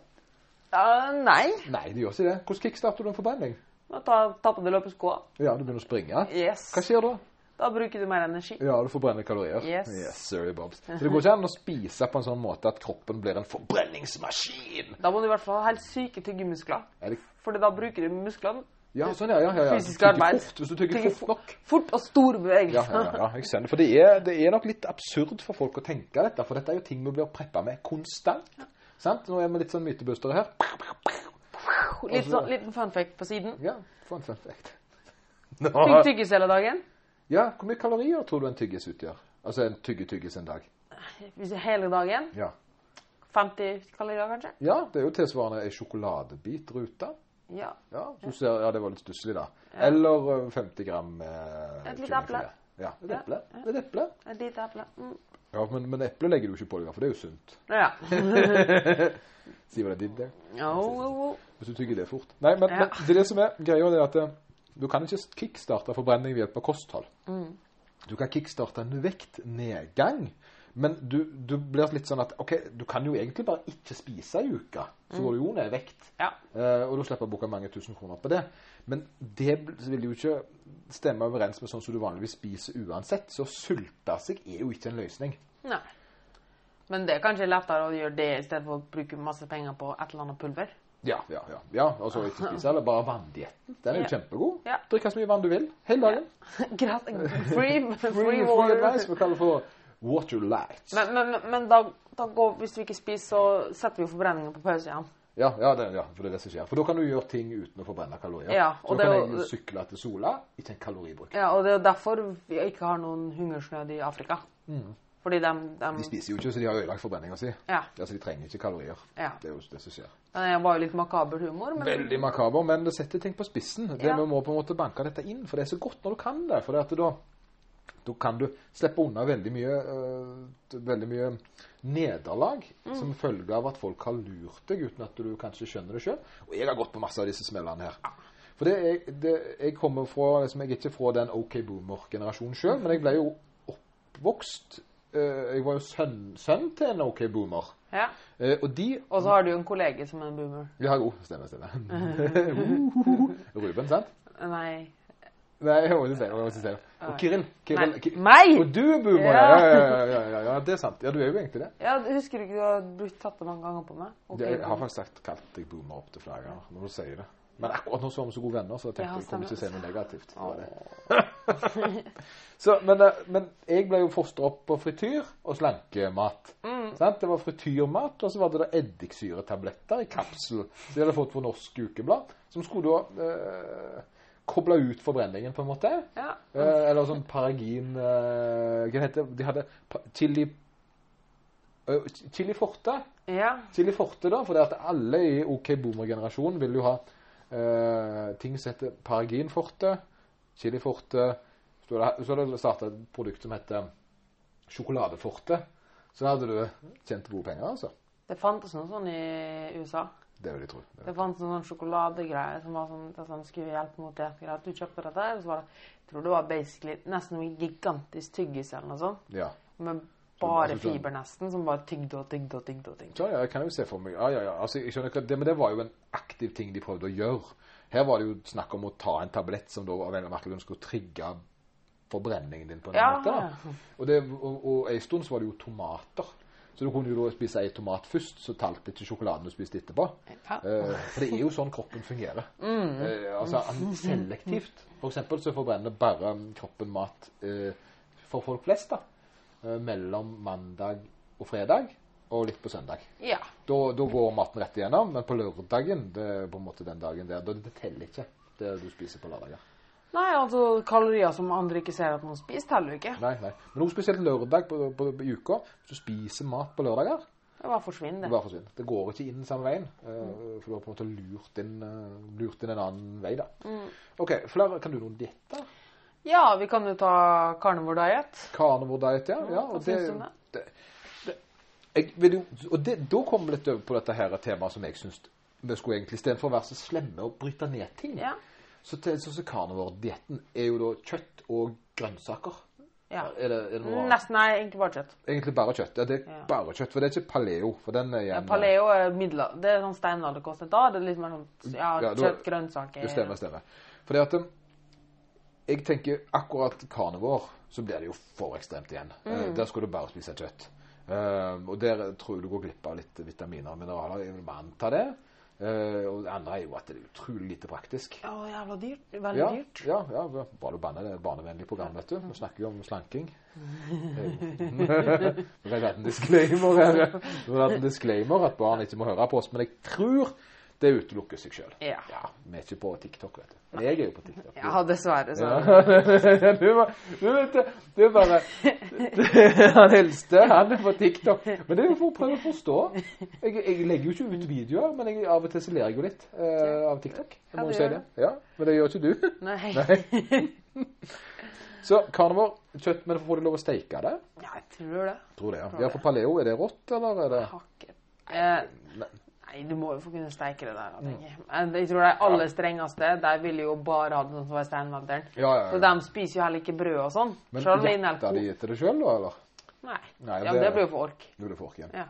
[SPEAKER 2] Ja, nei.
[SPEAKER 1] Nei, det gjør ikke det. Hvordan kickstarter du en forbrenning?
[SPEAKER 2] Nå tar, tapper du løpet skoa.
[SPEAKER 1] Ja, du begynner å springe.
[SPEAKER 2] Yes.
[SPEAKER 1] Hva skjer da?
[SPEAKER 2] Da bruker du mer energi.
[SPEAKER 1] Ja, du forbrenner kalorier.
[SPEAKER 2] Yes.
[SPEAKER 1] sorry, Bobs. Så det går ikke an å spise på en sånn måte at kroppen blir en forbrenningsmaskin.
[SPEAKER 2] Da må du i hvert fall ha helt syke tyggemuskler.
[SPEAKER 1] Er det,
[SPEAKER 2] For da bruker du musklene.
[SPEAKER 1] ja, sånn, ja. ja, ja, ja. Du
[SPEAKER 2] Fysisk
[SPEAKER 1] tygger
[SPEAKER 2] arbeid.
[SPEAKER 1] Fort, hvis du tygger
[SPEAKER 2] Tygger
[SPEAKER 1] fort nok.
[SPEAKER 2] Fort og store
[SPEAKER 1] Ja,
[SPEAKER 2] bevegelser.
[SPEAKER 1] ja, ja, ja, jeg skjønner. For det er, det er nok litt absurd for folk å tenke dette, for dette er jo ting vi blir preppa med konstant. Sant? Nå er vi litt sånn mytebustere her.
[SPEAKER 2] Litt sånn, liten fun fact på siden.
[SPEAKER 1] Ja, få en fun fact.
[SPEAKER 2] Tygg tyggis hele dagen.
[SPEAKER 1] Ja, hvor mye kalorier tror du en tyggis utgjør? Altså en tygge-tyggis en dag.
[SPEAKER 2] Hvis det er Hele dagen.
[SPEAKER 1] Ja.
[SPEAKER 2] 50 kalorier, kanskje.
[SPEAKER 1] ja, det er jo tilsvarende ei sjokoladebit rute.
[SPEAKER 2] Ja.
[SPEAKER 1] Ja, så du ser, ja, det var litt stusslig, da. Eller eh, 50 gram eh,
[SPEAKER 2] Et lite
[SPEAKER 1] kyllingfilet.
[SPEAKER 2] eple.
[SPEAKER 1] Ja, et
[SPEAKER 2] Ja.
[SPEAKER 1] eple. Et eple.
[SPEAKER 2] Et lite eple. Mm.
[SPEAKER 1] Ja, men, men eple legger du ikke på deg, for det er jo sunt.
[SPEAKER 2] Ja.
[SPEAKER 1] Sier hva det er ditt, det.
[SPEAKER 2] Jo, jo, jo.
[SPEAKER 1] Hvis du tygger det fort. Nei, men,
[SPEAKER 2] Ja.
[SPEAKER 1] men det er det som er greia, det er at eh, du kan ikke kickstarte forbrenning ved hjelp av kosthold.
[SPEAKER 2] Mm.
[SPEAKER 1] Du kan kickstarte en vektnedgang, men du, du blir litt sånn at OK, du kan jo egentlig bare ikke spise ei uke, så går du jo ned i vekt.
[SPEAKER 2] Mm. Ja.
[SPEAKER 1] Eh, og du slipper å bruke mange tusen kroner på det. Men det bl- vil jo ikke stemme overens med sånn som du vanligvis spiser uansett. Så å sulte seg er jo ikke en løsning.
[SPEAKER 2] Nei. Men det er kanskje lettere å gjøre det i stedet for å bruke masse penger på et eller annet pulver. [LAUGHS]
[SPEAKER 1] Ja, ja, ja. ja og så ikke spise, eller bare vanndietten. Den er jo
[SPEAKER 2] Ja.
[SPEAKER 1] kjempegod.
[SPEAKER 2] Ja.
[SPEAKER 1] Drikke så mye vann du vil hele dagen.
[SPEAKER 2] Greit. Free, [LAUGHS]
[SPEAKER 1] Free,
[SPEAKER 2] free
[SPEAKER 1] free
[SPEAKER 2] water.
[SPEAKER 1] advice vi kaller for water light.
[SPEAKER 2] Men, men, men- men da, da går, hvis vi ikke spiser, så setter vi jo forbrenningen på pause igjen.
[SPEAKER 1] Ja, ja, det, ja, for det er det som skjer. For da kan du gjøre ting uten å forbrenne kalorier.
[SPEAKER 2] Ja,
[SPEAKER 1] så
[SPEAKER 2] og
[SPEAKER 1] da
[SPEAKER 2] det
[SPEAKER 1] kan
[SPEAKER 2] er
[SPEAKER 1] jeg
[SPEAKER 2] jo-
[SPEAKER 1] jo sykle til sola, ikke en kaloribruk.
[SPEAKER 2] Ja, og det er jo derfor vi ikke har noen hungersnød i Afrika. Fordi de,
[SPEAKER 1] De
[SPEAKER 2] de,
[SPEAKER 1] Mm. spiser jo ikke, så de har ødelagt forbrenninga si.
[SPEAKER 2] Ja.
[SPEAKER 1] Altså, de trenger ikke kalorier.
[SPEAKER 2] Ja.
[SPEAKER 1] Det er jo det som skjer.
[SPEAKER 2] Det var jo litt makaber humor, men
[SPEAKER 1] Veldig makaber, men det setter ting på spissen. Det
[SPEAKER 2] Ja.
[SPEAKER 1] Vi må på en måte banke dette inn, for det er så godt når du kan det. For det at da, da kan du slippe unna veldig mye, øh, veldig mye nederlag som følge av at folk har lurt deg uten at du kanskje skjønner det sjøl. Og jeg har gått på masse av disse smellene her. For det, er- det, jeg kommer fra liksom, Jeg er ikke fra den OK Boomer-generasjonen sjøl, men jeg ble jo oppvokst øh, Jeg var jo sønn, sønn til en OK Boomer.
[SPEAKER 2] ja.
[SPEAKER 1] Eh, og de
[SPEAKER 2] Og så har du jo en kollege som er en boomer.
[SPEAKER 1] ja, jo, stemmer, stemmer. Ruben, sant?
[SPEAKER 2] Nei.
[SPEAKER 1] Nei, jeg må ikke si det. jeg må ikke si det. Og Kiril.
[SPEAKER 2] Nei.
[SPEAKER 1] Kiril Ki-
[SPEAKER 2] Meg!
[SPEAKER 1] Og du er boomer, ja. Ja, ja, ja, ja, ja, det er sant. Ja, du er jo egentlig det.
[SPEAKER 2] Ja, Husker du ikke du har brukt tatt det mange ganger på meg? Ok,
[SPEAKER 1] Jeg har
[SPEAKER 2] boomer.
[SPEAKER 1] faktisk sagt, kalt deg boomer opp til flere ganger når du sier det. Men akkurat nå så var vi så gode venner, så jeg tenkte
[SPEAKER 2] Ja,
[SPEAKER 1] jeg kommer ikke til å si noe negativt. Det var det.
[SPEAKER 2] Åh.
[SPEAKER 1] [LAUGHS] Så, men, eh, men jeg ble jo fostra opp på frityr og slankemat.
[SPEAKER 2] Mm.
[SPEAKER 1] Sant? Det var frityrmat, og så var det da eddiksyretabletter i kapsel som de hadde fått på Norsk Ukeblad, som skulle da eh, koble ut forbrenningen, på en måte.
[SPEAKER 2] Ja.
[SPEAKER 1] Eh, eller sånn paragin eh, Hva heter det? De hadde pa- chili Eh, ch- Chili Forte
[SPEAKER 2] Ja.
[SPEAKER 1] Chili Forte, da, for det at alle i OK Boomer-generasjonen vil jo ha eh, ting som heter Paragin Forte, Chili Forte Så har det, så har det starta et produkt som heter Sjokoladeforte. Så da hadde du tjent gode penger, altså.
[SPEAKER 2] Det fantes noe sånn i USA.
[SPEAKER 1] Det vil jeg tro. Det-
[SPEAKER 2] Det fantes noen sånn sjokoladegreier som var sånn, det er sånn skulle hjelpe mot det. At du kjøpte dette, og så var det jeg tror det var basically nesten noe gigantisk tyggis eller noe sånt.
[SPEAKER 1] Ja.
[SPEAKER 2] Med bare
[SPEAKER 1] Altså sånn-
[SPEAKER 2] fiber nesten, som bare tygde og tygde og tygde. og tygde.
[SPEAKER 1] Ja, ja, jeg kan jo se for meg. Ja, ja, ja. Altså, jeg skjønner ikke, at det, men det var jo en aktiv ting de prøvde å gjøre. Her var det jo snakk om å ta en tablett som da av en eller annen merkelig grunn skulle trigge forbrenningen din på en
[SPEAKER 2] Ja.
[SPEAKER 1] måte. da. Og, det, og, og en stund så var det jo tomater. Så du kunne jo da spise en tomat først, så talte ikke sjokoladen du spiste etterpå.
[SPEAKER 2] Ja.
[SPEAKER 1] Eh, for det er jo sånn kroppen fungerer. Eh, altså an- selektivt. For eksempel så forbrenner bare kroppen mat eh, for folk flest da. Eh, mellom mandag og fredag, og litt på søndag.
[SPEAKER 2] ja.
[SPEAKER 1] Da, da går maten rett igjennom, men på lørdagen det er på en måte den dagen der, da det teller ikke det du spiser på lørdager.
[SPEAKER 2] Nei, altså kalorier som andre ikke ser at man spiser, teller jo ikke.
[SPEAKER 1] Nei, nei. Men noe spesielt lørdag på, på, på, i uka, hvis du spiser mat på lørdager,
[SPEAKER 2] Det bare forsvinner.
[SPEAKER 1] det bare forsvinner. Det går ikke inn samme veien, eh, for du har på en måte lurt inn, eh, lurt inn en annen vei da.
[SPEAKER 2] Mm.
[SPEAKER 1] Ok, flere, kan du noen dietter?
[SPEAKER 2] Ja, vi kan jo ta carnivore diet.
[SPEAKER 1] Carnivore diet, ja. ja
[SPEAKER 2] hva
[SPEAKER 1] og det,
[SPEAKER 2] synes du om det?
[SPEAKER 1] det, det, jeg vil jo, og det, da kommer vi litt over på dette her temaet som jeg synes vi skulle egentlig, i stedet for å være så slemme og bryte ned ting,
[SPEAKER 2] Ja.
[SPEAKER 1] Så til så, så carnivore-dietten er jo da kjøtt og grønnsaker.
[SPEAKER 2] ja.
[SPEAKER 1] Er det, er det noe annet?
[SPEAKER 2] Nesten, nei, egentlig bare kjøtt.
[SPEAKER 1] Egentlig bare kjøtt. Ja, det er
[SPEAKER 2] Ja.
[SPEAKER 1] bare kjøtt, for det er ikke paleo. For den er igjen
[SPEAKER 2] Paleo er midler. Det er sånn steinalderkost. Da er det litt mer sånn ja,
[SPEAKER 1] Ja, da-
[SPEAKER 2] kjøtt, grønnsaker
[SPEAKER 1] Det stemmer, stemmer. eh, Fordi at um, jeg tenker akkurat carnivore, så blir det jo for ekstremt igjen. Eh,
[SPEAKER 2] Mm.
[SPEAKER 1] Der skal du bare spise kjøtt. Eh, og der tror jeg du går glipp av litt vitaminer og mineraler. Jeg vil bare anta det. Eh, og det andre er jo at det er utrolig lite praktisk.
[SPEAKER 2] Ja, jævla dyrt. Veldig
[SPEAKER 1] Ja,
[SPEAKER 2] dyrt.
[SPEAKER 1] ja, ja, bare du banner det er et barnevennlig program, vet du. Nå snakker vi om slanking.
[SPEAKER 2] [LAUGHS]
[SPEAKER 1] Vi har hatt en disclaimer her. Vi har hatt en disclaimer at barn ikke må høre på oss, men jeg tror det utelukker seg sjøl.
[SPEAKER 2] Ja.
[SPEAKER 1] vi er ikke på TikTok, vet du. Men jeg er jo på TikTok.
[SPEAKER 2] Ja, dessverre. Så.
[SPEAKER 1] Ja. [LAUGHS] Du, var- du vet det, du er bare [LAUGHS] Han eldste, han er på TikTok. Men det er jo for å prøve å forstå. Jeg, jeg legger jo ikke ut videoer, men jeg, av og til så ler jeg jo litt eh, av TikTok. Jeg
[SPEAKER 2] Ja,
[SPEAKER 1] må
[SPEAKER 2] du
[SPEAKER 1] jo si
[SPEAKER 2] gjør
[SPEAKER 1] det. Ja, men det gjør ikke du.
[SPEAKER 2] Nei. [LAUGHS]
[SPEAKER 1] Så carnivore, kjøtt, men får de lov å steike det?
[SPEAKER 2] Ja, jeg tror det.
[SPEAKER 1] Tror det, ja. Ja, For paleo, er det rått, eller er det
[SPEAKER 2] Hakket. Eh, nei, du må jo få kunne steike det
[SPEAKER 1] Mm.
[SPEAKER 2] der. da, tenker Jeg Eh, Jeg tror de aller strengeste de vil jo bare ha det sånn som var i steinalderen.
[SPEAKER 1] Ja, ja, ja.
[SPEAKER 2] Så de spiser jo heller ikke brød og sånn.
[SPEAKER 1] Men
[SPEAKER 2] Selv om det
[SPEAKER 1] jakter
[SPEAKER 2] inneholder
[SPEAKER 1] de etter det sjøl, da, eller?
[SPEAKER 2] Nei.
[SPEAKER 1] Nei,
[SPEAKER 2] ja,
[SPEAKER 1] det-
[SPEAKER 2] men det blir jo for ork.
[SPEAKER 1] Jo, det får ikke igjen.
[SPEAKER 2] Ja.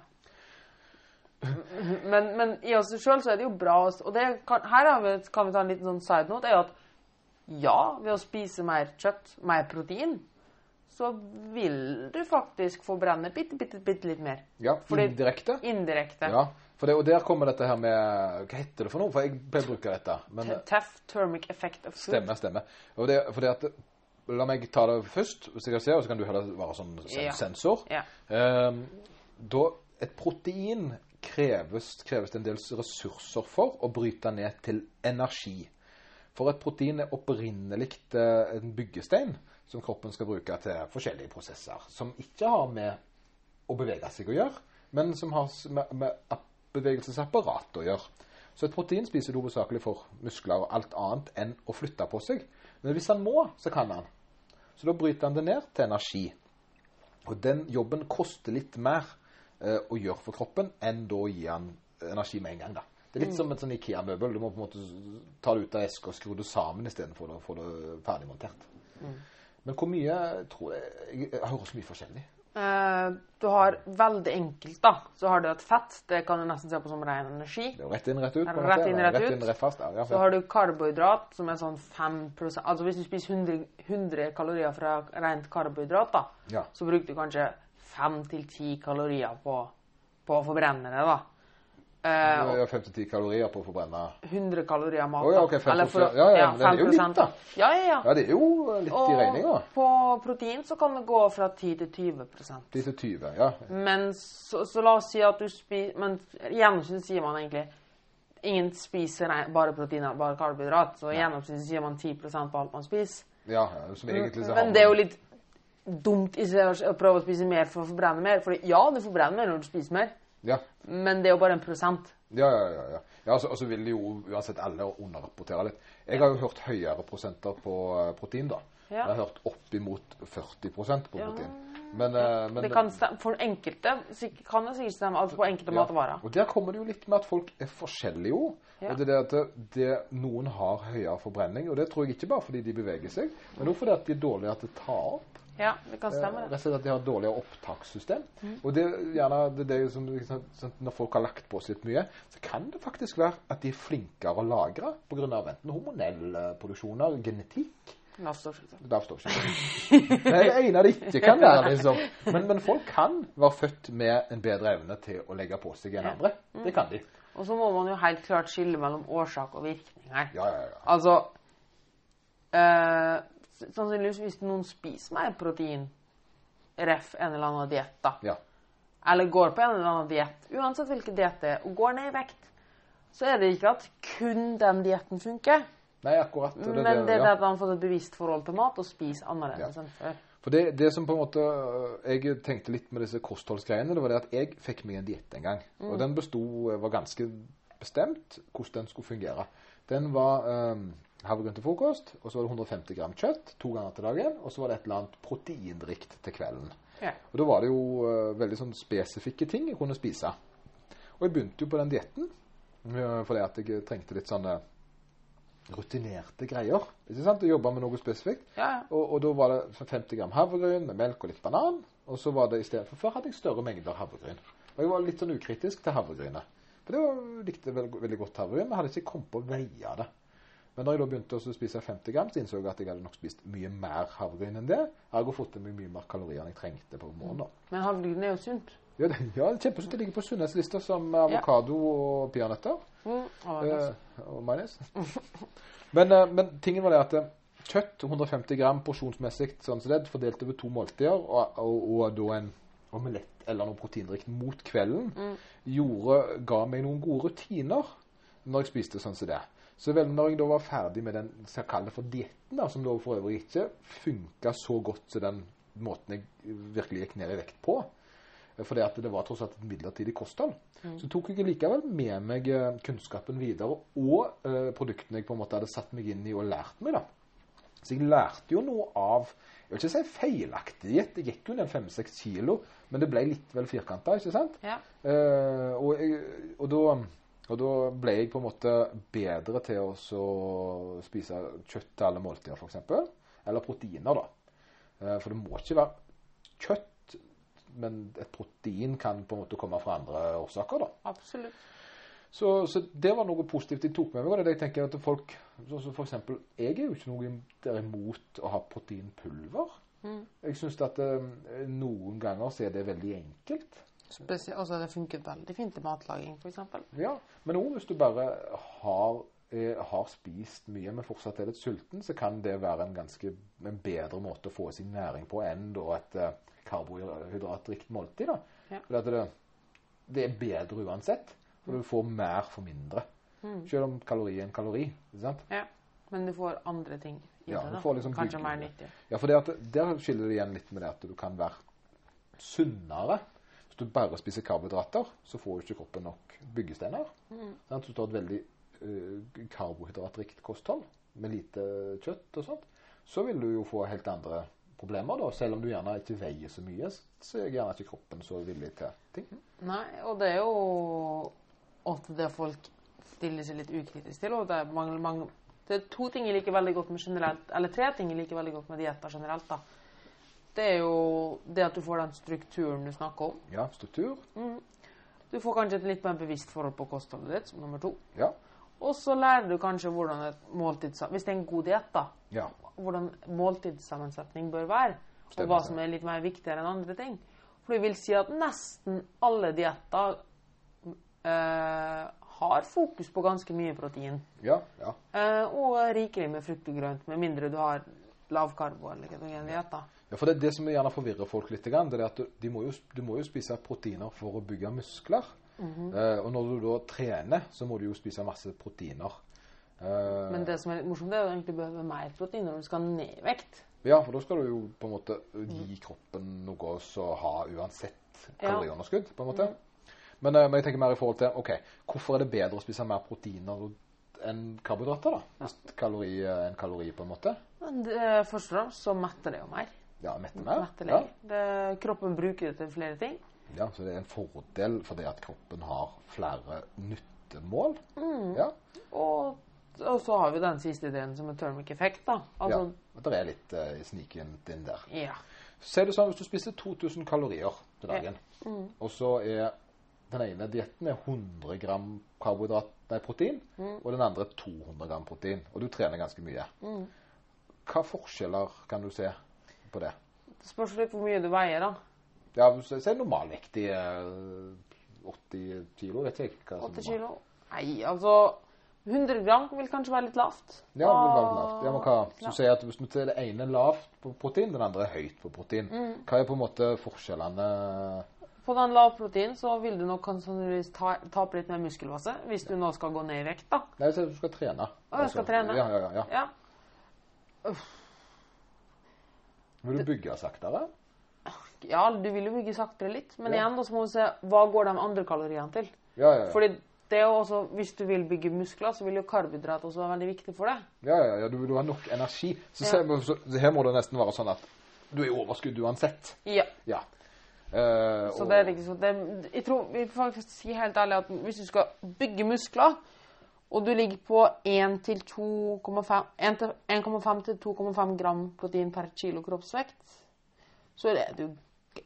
[SPEAKER 2] [LAUGHS] Men, men i oss sjøl så er det jo bra å s- Og det kan, her har vi, kan vi ta en liten sånn side note. er jo at ja, ved å spise mer kjøtt, mer protein, så vil du faktisk forbrenne bitte, bitte, bitte litt mer.
[SPEAKER 1] Ja,
[SPEAKER 2] Fordi-
[SPEAKER 1] Indirekte?
[SPEAKER 2] Indirekte.
[SPEAKER 1] Ja. For det, og der kommer dette her med Hva heter det for noe? For jeg pleier å bruke dette. Men
[SPEAKER 2] T- Tough thermic effect of food.
[SPEAKER 1] stemmer, stemmer. Og det, for det at La meg ta det først, hvis jeg kan se, og så kan du heller være sånn sen
[SPEAKER 2] Ja.
[SPEAKER 1] sensor.
[SPEAKER 2] Ja.
[SPEAKER 1] Ehm, da et protein kreves, kreves det en del ressurser for å bryte ned til energi. For et protein er opprinnelig eh, en byggestein som kroppen skal bruke til forskjellige prosesser, som ikke har med å bevege seg å gjøre, men som har s- med, med app- bevegelsesapparat å gjøre. Så et protein spiser du hovedsakelig for muskler og alt annet enn å flytte på seg. Men hvis han må, så kan han. Så da bryter han det ned til energi. Og den jobben koster litt mer eh, å gjøre for kroppen enn da å gi han energi med en gang. da. Det
[SPEAKER 2] Mm.
[SPEAKER 1] er litt som et sånn Ikea-møbel. Du må på en måte s- ta det ut av eska og skru det sammen istedenfor å få det ferdig montert.
[SPEAKER 2] Mm.
[SPEAKER 1] Men hvor mye tror jeg, jeg, jeg hører så mye forskjellig.
[SPEAKER 2] Eh, du har veldig enkelt, da. Så har du et fett. Det kan du nesten se på som ren energi.
[SPEAKER 1] Det er jo rett inn, rett ut. på en
[SPEAKER 2] Rett
[SPEAKER 1] måte.
[SPEAKER 2] inn,
[SPEAKER 1] Eller
[SPEAKER 2] rett ut.
[SPEAKER 1] Rett inn, rett fast. Ja, ja,
[SPEAKER 2] Så har du karbohydrat, som er sånn 5 Altså hvis du spiser 100, 100 kalorier fra rent karbohydrat, da,
[SPEAKER 1] Ja.
[SPEAKER 2] så bruker du kanskje 5-10 kalorier på, på å forbrenne det, da. Eh,
[SPEAKER 1] Du har 5-10 kalorier på å forbrenne.
[SPEAKER 2] 100 kalorier mat.
[SPEAKER 1] Å ja,
[SPEAKER 2] da.
[SPEAKER 1] ok, fem
[SPEAKER 2] Eller for å-
[SPEAKER 1] prosent. Ja, ja, men det er jo
[SPEAKER 2] 5
[SPEAKER 1] litt, da.
[SPEAKER 2] Ja, ja, ja.
[SPEAKER 1] Ja, det er jo litt i regninga.
[SPEAKER 2] Og på protein så kan det gå fra 10 til 20
[SPEAKER 1] 10 til 20, ja.
[SPEAKER 2] Men så, så la oss si at du spiser Men i gjennomsnitt sier man egentlig Ingen spiser nei, bare proteiner, bare karbohydrat. Så i gjennomsnitt sier man 10 på alt man spiser.
[SPEAKER 1] ja som egentlig så har
[SPEAKER 2] Mm. Men det er jo
[SPEAKER 1] man-
[SPEAKER 2] litt dumt i seg å prøve å spise mer for å forbrenne mer. For ja, du forbrenner mer når du spiser mer,
[SPEAKER 1] Ja.
[SPEAKER 2] men det er jo bare en prosent.
[SPEAKER 1] Ja, ja, ja. ja. ja altså, altså vil jo uansett alle underrapportere litt. Jeg har jo hørt høyere prosenter på eh, protein, da.
[SPEAKER 2] Ja.
[SPEAKER 1] Jeg har hørt oppimot 40 på protein. Men, eh, men
[SPEAKER 2] Det kan stemme, for enkelte sik- kan det sikkert stemme altså på enkelte matvarer.
[SPEAKER 1] Og der kommer det jo litt med at folk er forskjellige òg.
[SPEAKER 2] Ja.
[SPEAKER 1] Og det er det at det- det, noen har høyere forbrenning, og det tror jeg ikke bare fordi de beveger seg, men også fordi at de er dårligere til å ta opp.
[SPEAKER 2] Ja, det kan
[SPEAKER 1] Eh,
[SPEAKER 2] stemme
[SPEAKER 1] Rett
[SPEAKER 2] det. Mm.
[SPEAKER 1] og slett at de har dårligere opptakssystem. Og det er gjerne det, det er jo som, liksom, sånn, Når folk har lagt på seg litt mye, så kan det faktisk være at de er flinkere å lagre pga. enten hormonelle produksjoner, genetikk
[SPEAKER 2] Lavstoffsykdom.
[SPEAKER 1] Derfor står ikke
[SPEAKER 2] [LAUGHS]
[SPEAKER 1] det. Nei, det ene det ikke kan være, liksom. Men, men folk kan være født med en bedre evne til å legge på seg enn andre. Det kan de.
[SPEAKER 2] Og så må man jo helt klart skille mellom årsak og virkning her.
[SPEAKER 1] Ja, ja, ja.
[SPEAKER 2] Altså eh, s- Sannsynligvis hvis noen spiser mer protein, ref. en eller annen diett, da,
[SPEAKER 1] ja.
[SPEAKER 2] eller går på en eller annen diett, uansett hvilken diett det er, og går ned i vekt, så er det ikke at kun den dietten funker,
[SPEAKER 1] Nei, akkurat. og
[SPEAKER 2] men det er det
[SPEAKER 1] ja.
[SPEAKER 2] at man har fått et bevisst forhold til mat og spiser annerledes
[SPEAKER 1] Ja.
[SPEAKER 2] enn før.
[SPEAKER 1] For det, det som på en måte øh, Jeg tenkte litt med disse kostholdsgreiene, det var det at jeg fikk meg en diett en gang. Og den besto Var ganske bestemt hvordan den skulle fungere. Den var um, havregryn til frokost, og så var det 150 gram kjøtt to ganger til dagen, og så var det et eller annet proteindrikt til kvelden.
[SPEAKER 2] Ja.
[SPEAKER 1] Og da var det jo øh, veldig sånn spesifikke ting jeg kunne spise. Og jeg begynte jo på den dietten øh, fordi at jeg trengte litt sånne rutinerte greier. Ikke sant? Å jobbe med noe spesifikt.
[SPEAKER 2] Ja, ja.
[SPEAKER 1] Og, og da var det 50 gram havregryn med melk og litt banan. Og så var det i stedet for Før hadde jeg større mengder havregryn. Og jeg var litt sånn ukritisk til havregrynet. For det var, likte jeg veldig, veldig godt havregryn, men hadde ikke kommet på å veie det. Men når jeg da begynte å spise 50 gram, så innså jeg at jeg hadde nok spist mye mer havregryn enn det. Ergo fått i meg mye mer kalorier enn jeg trengte på morgenen. da.
[SPEAKER 2] Men havregryn er jo sunt.
[SPEAKER 1] Ja, det, ja, det er kjempesunt. Det ligger på sunnhetslista som avokado og peanøtter.
[SPEAKER 2] Mm. Og,
[SPEAKER 1] Eh, og majones. [LAUGHS] men, eh, men tingen var det at eh, kjøtt, 150 gram porsjonsmessig, sånn som det, fordelt over to måltider, og, og, og da en omelett eller noe proteinrikt mot kvelden, gjorde, ga meg noen gode rutiner når jeg spiste sånn som det. Så vel, når jeg da var ferdig med den skal jeg kalle det for dietten, da, som da for øvrig ikke funka så godt som den måten jeg virkelig gikk ned i vekt på, fordi at det var tross alt et midlertidig kosthold. Så tok jeg likevel med meg eh, kunnskapen videre, og eh, produktene jeg på en måte hadde satt meg inn i og lært meg. da. Så jeg lærte jo noe av Jeg vil ikke si feilaktig diett. Jeg gikk jo ned fem-seks kilo, men det ble litt vel firkanta, ikke sant?
[SPEAKER 2] ja.
[SPEAKER 1] Eh, og, jeg, og, da, og da ble jeg på en måte bedre til å så spise kjøtt til alle måltider, f.eks. Eller proteiner, da. Eh, for det må ikke være kjøtt, men et protein kan på en måte komme fra andre årsaker, da.
[SPEAKER 2] Absolutt.
[SPEAKER 1] Så, så det var noe positivt jeg tok med meg. Og det er det jeg tenker at folk, sånn som for eksempel, Jeg er jo ikke noe der imot å ha proteinpulver. Jeg syns at eh, noen ganger så er det veldig enkelt.
[SPEAKER 2] Spesielt, altså det funket veldig fint i matlaging, for eksempel.
[SPEAKER 1] Ja, men også hvis du bare har, eh, har spist mye, men fortsatt er litt sulten, så kan det være en ganske en bedre måte å få i seg næring på enn da et eh, karbohydratrikt måltid. da.
[SPEAKER 2] Ja.
[SPEAKER 1] Fordi at det, det er bedre uansett, for du får mer for mindre. Selv om kalori er en kalori. ikke sant?
[SPEAKER 2] Ja. Men du får andre ting i
[SPEAKER 1] Ja,
[SPEAKER 2] det.
[SPEAKER 1] du
[SPEAKER 2] da.
[SPEAKER 1] får liksom
[SPEAKER 2] Kanskje
[SPEAKER 1] bygge
[SPEAKER 2] mer
[SPEAKER 1] det.
[SPEAKER 2] nyttig.
[SPEAKER 1] Ja, for det at, der skiller det igjen litt med det at du kan være sunnere. Hvis du bare spiser karbohydrater, så får jo ikke kroppen nok byggesteiner.
[SPEAKER 2] Mm.
[SPEAKER 1] Sant? Så du har et veldig eh, karbohydratrikt kosthold med lite kjøtt og sånt, så vil du jo få helt andre problemer da. Selv om du gjerne ikke veier så mye, så er gjerne ikke kroppen så villig til ting.
[SPEAKER 2] Nei, og det er jo ofte det folk stiller seg litt ukritisk til. Og det er, mange, mange, det er to ting jeg liker veldig godt med generelt, eller tre ting jeg liker veldig godt med dietter generelt. da. Det er jo det at du får den strukturen du snakker om.
[SPEAKER 1] Ja, struktur.
[SPEAKER 2] Mm. Du får kanskje et litt mer bevisst forhold på kostholdet ditt, som nummer to.
[SPEAKER 1] Ja.
[SPEAKER 2] Og så lærer du kanskje hvordan et måltid Hvis det er en god diett, da.
[SPEAKER 1] Ja.
[SPEAKER 2] hvordan måltidssammensetning bør være, og
[SPEAKER 1] Stemmer
[SPEAKER 2] hva
[SPEAKER 1] det.
[SPEAKER 2] som er litt mer viktigere enn andre ting. For det vil si at nesten alle dietter eh, har fokus på ganske mye protein.
[SPEAKER 1] Ja. ja.
[SPEAKER 2] eh, og er rikelig med frukt og grønt, med mindre du har lavkarbo eller ketogen diett. da.
[SPEAKER 1] Ja, for det, det som gjerne forvirrer folk litt, grann, det er at du, de må jo, du må jo spise proteiner for å bygge muskler. eh, og når du da trener, så må du jo spise masse proteiner. Eh,
[SPEAKER 2] Men det som er litt morsomt, det er jo egentlig å behøve mer protein når du skal ned i vekt.
[SPEAKER 1] Ja, for da skal du jo på en måte gi kroppen noe å ha uansett kaloriunderskudd, på en måte. Men, eh, men jeg tenker mer i forhold til ok, hvorfor er det bedre å spise mer proteiner enn karbohydrater, da? Kalori eh, enn kalori, på en måte?
[SPEAKER 2] Men det, eh, først og fremst så metter det jo mer.
[SPEAKER 1] Ja, mette mer.
[SPEAKER 2] Metter
[SPEAKER 1] Ja.
[SPEAKER 2] lenger. Det, kroppen bruker det til flere ting.
[SPEAKER 1] ja, så det er en fordel for det at kroppen har flere nyttemål. Ja.
[SPEAKER 2] Og, og så har vi den siste ideen som er thermic effect, da.
[SPEAKER 1] ja.
[SPEAKER 2] Altså,
[SPEAKER 1] At det er litt uh, snikent inn der.
[SPEAKER 2] ja.
[SPEAKER 1] Si det sånn, hvis du spiser 2000 kalorier til dagen, og så er den ene dietten er 100 gram karbohydrat, nei, protein, og den andre 200 gram protein, og du trener ganske mye. Hva forskjeller kan du se på det?
[SPEAKER 2] Det spørs litt hvor mye du veier, da.
[SPEAKER 1] Ja, hvis jeg sier normalvektig eh, 80 kilo, vet jeg ikke. hva som
[SPEAKER 2] 8
[SPEAKER 1] var.
[SPEAKER 2] kilo. Nei, altså 100 gram vil kanskje være litt lavt.
[SPEAKER 1] Ja, det var vel lavt. Ja, men hva? Så
[SPEAKER 2] Ja.
[SPEAKER 1] sier jeg at hvis vi ser det ene er lavt på protein, den andre er høyt på protein.
[SPEAKER 2] Mm.
[SPEAKER 1] Hva er på en måte forskjellene?
[SPEAKER 2] På den lav protein så vil du nok sannsynligvis ta, tape litt mer muskelmasse hvis du nå skal gå ned i vekt, da.
[SPEAKER 1] Nei, så du skal trene.
[SPEAKER 2] Å, jeg
[SPEAKER 1] Altså,
[SPEAKER 2] skal trene.
[SPEAKER 1] Ja, ja, ja. ja.
[SPEAKER 2] Ja.
[SPEAKER 1] Vil du bygge saktere?
[SPEAKER 2] ja, du vil jo bygge saktere litt, men
[SPEAKER 1] Ja.
[SPEAKER 2] igjen da så må du se hva går de andre kaloriene til.
[SPEAKER 1] Ja, ja, ja.
[SPEAKER 2] Fordi det er jo også, hvis du vil bygge muskler, så vil jo karbohydrat også være veldig viktig for deg.
[SPEAKER 1] ja, ja, ja du, du har nok energi. Så,
[SPEAKER 2] Ja.
[SPEAKER 1] ser vi- så, så her må det nesten være sånn at du er i overskudd uansett.
[SPEAKER 2] Ja.
[SPEAKER 1] Ja. Eh,
[SPEAKER 2] Så
[SPEAKER 1] og-
[SPEAKER 2] det er ikke så det, Jeg tror vi får faktisk si helt ærlig at hvis du skal bygge muskler, og du ligger på 1 til 2,5 1 til 1,5 til 2,5 gram protein per kilo kroppsvekt, så er det du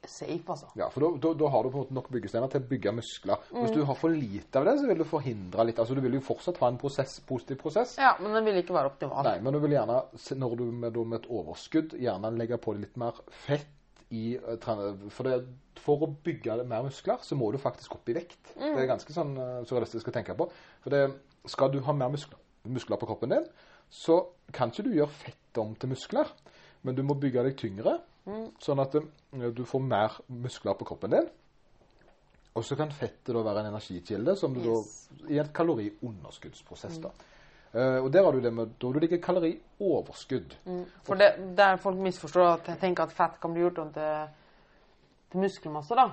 [SPEAKER 2] safe, altså.
[SPEAKER 1] Ja, for da- da da har du på en måte nok byggesteiner til å bygge muskler.
[SPEAKER 2] Mm.
[SPEAKER 1] Hvis du har for lite av det, så vil du forhindre litt. Altså, Du vil jo fortsatt ha en prosess, positiv prosess.
[SPEAKER 2] Ja, men den vil ikke være optimal.
[SPEAKER 1] Nei, men du vil gjerne, se- når du med, da med et overskudd, gjerne legge på litt mer fett i eh, trene- for, det, for å bygge det mer muskler, så må du faktisk opp i vekt. Det er ganske sånn eh, surrealistisk å tenke på. For det, skal du ha mer muskler, muskler på kroppen din, så kan ikke du gjøre fett om til muskler, men du må bygge deg tyngre, sånn at eh, du får mer muskler på kroppen din. Og så kan fettet da være en energikilde som du
[SPEAKER 2] Yes. Mm.
[SPEAKER 1] da, i en kaloriunderskuddsprosess. da. Eh, og der har du det med da du ligger kalorioverskudd.
[SPEAKER 2] For det, der folk misforstår at jeg tenker at fett kan bli gjort om til, til muskelmasse, da.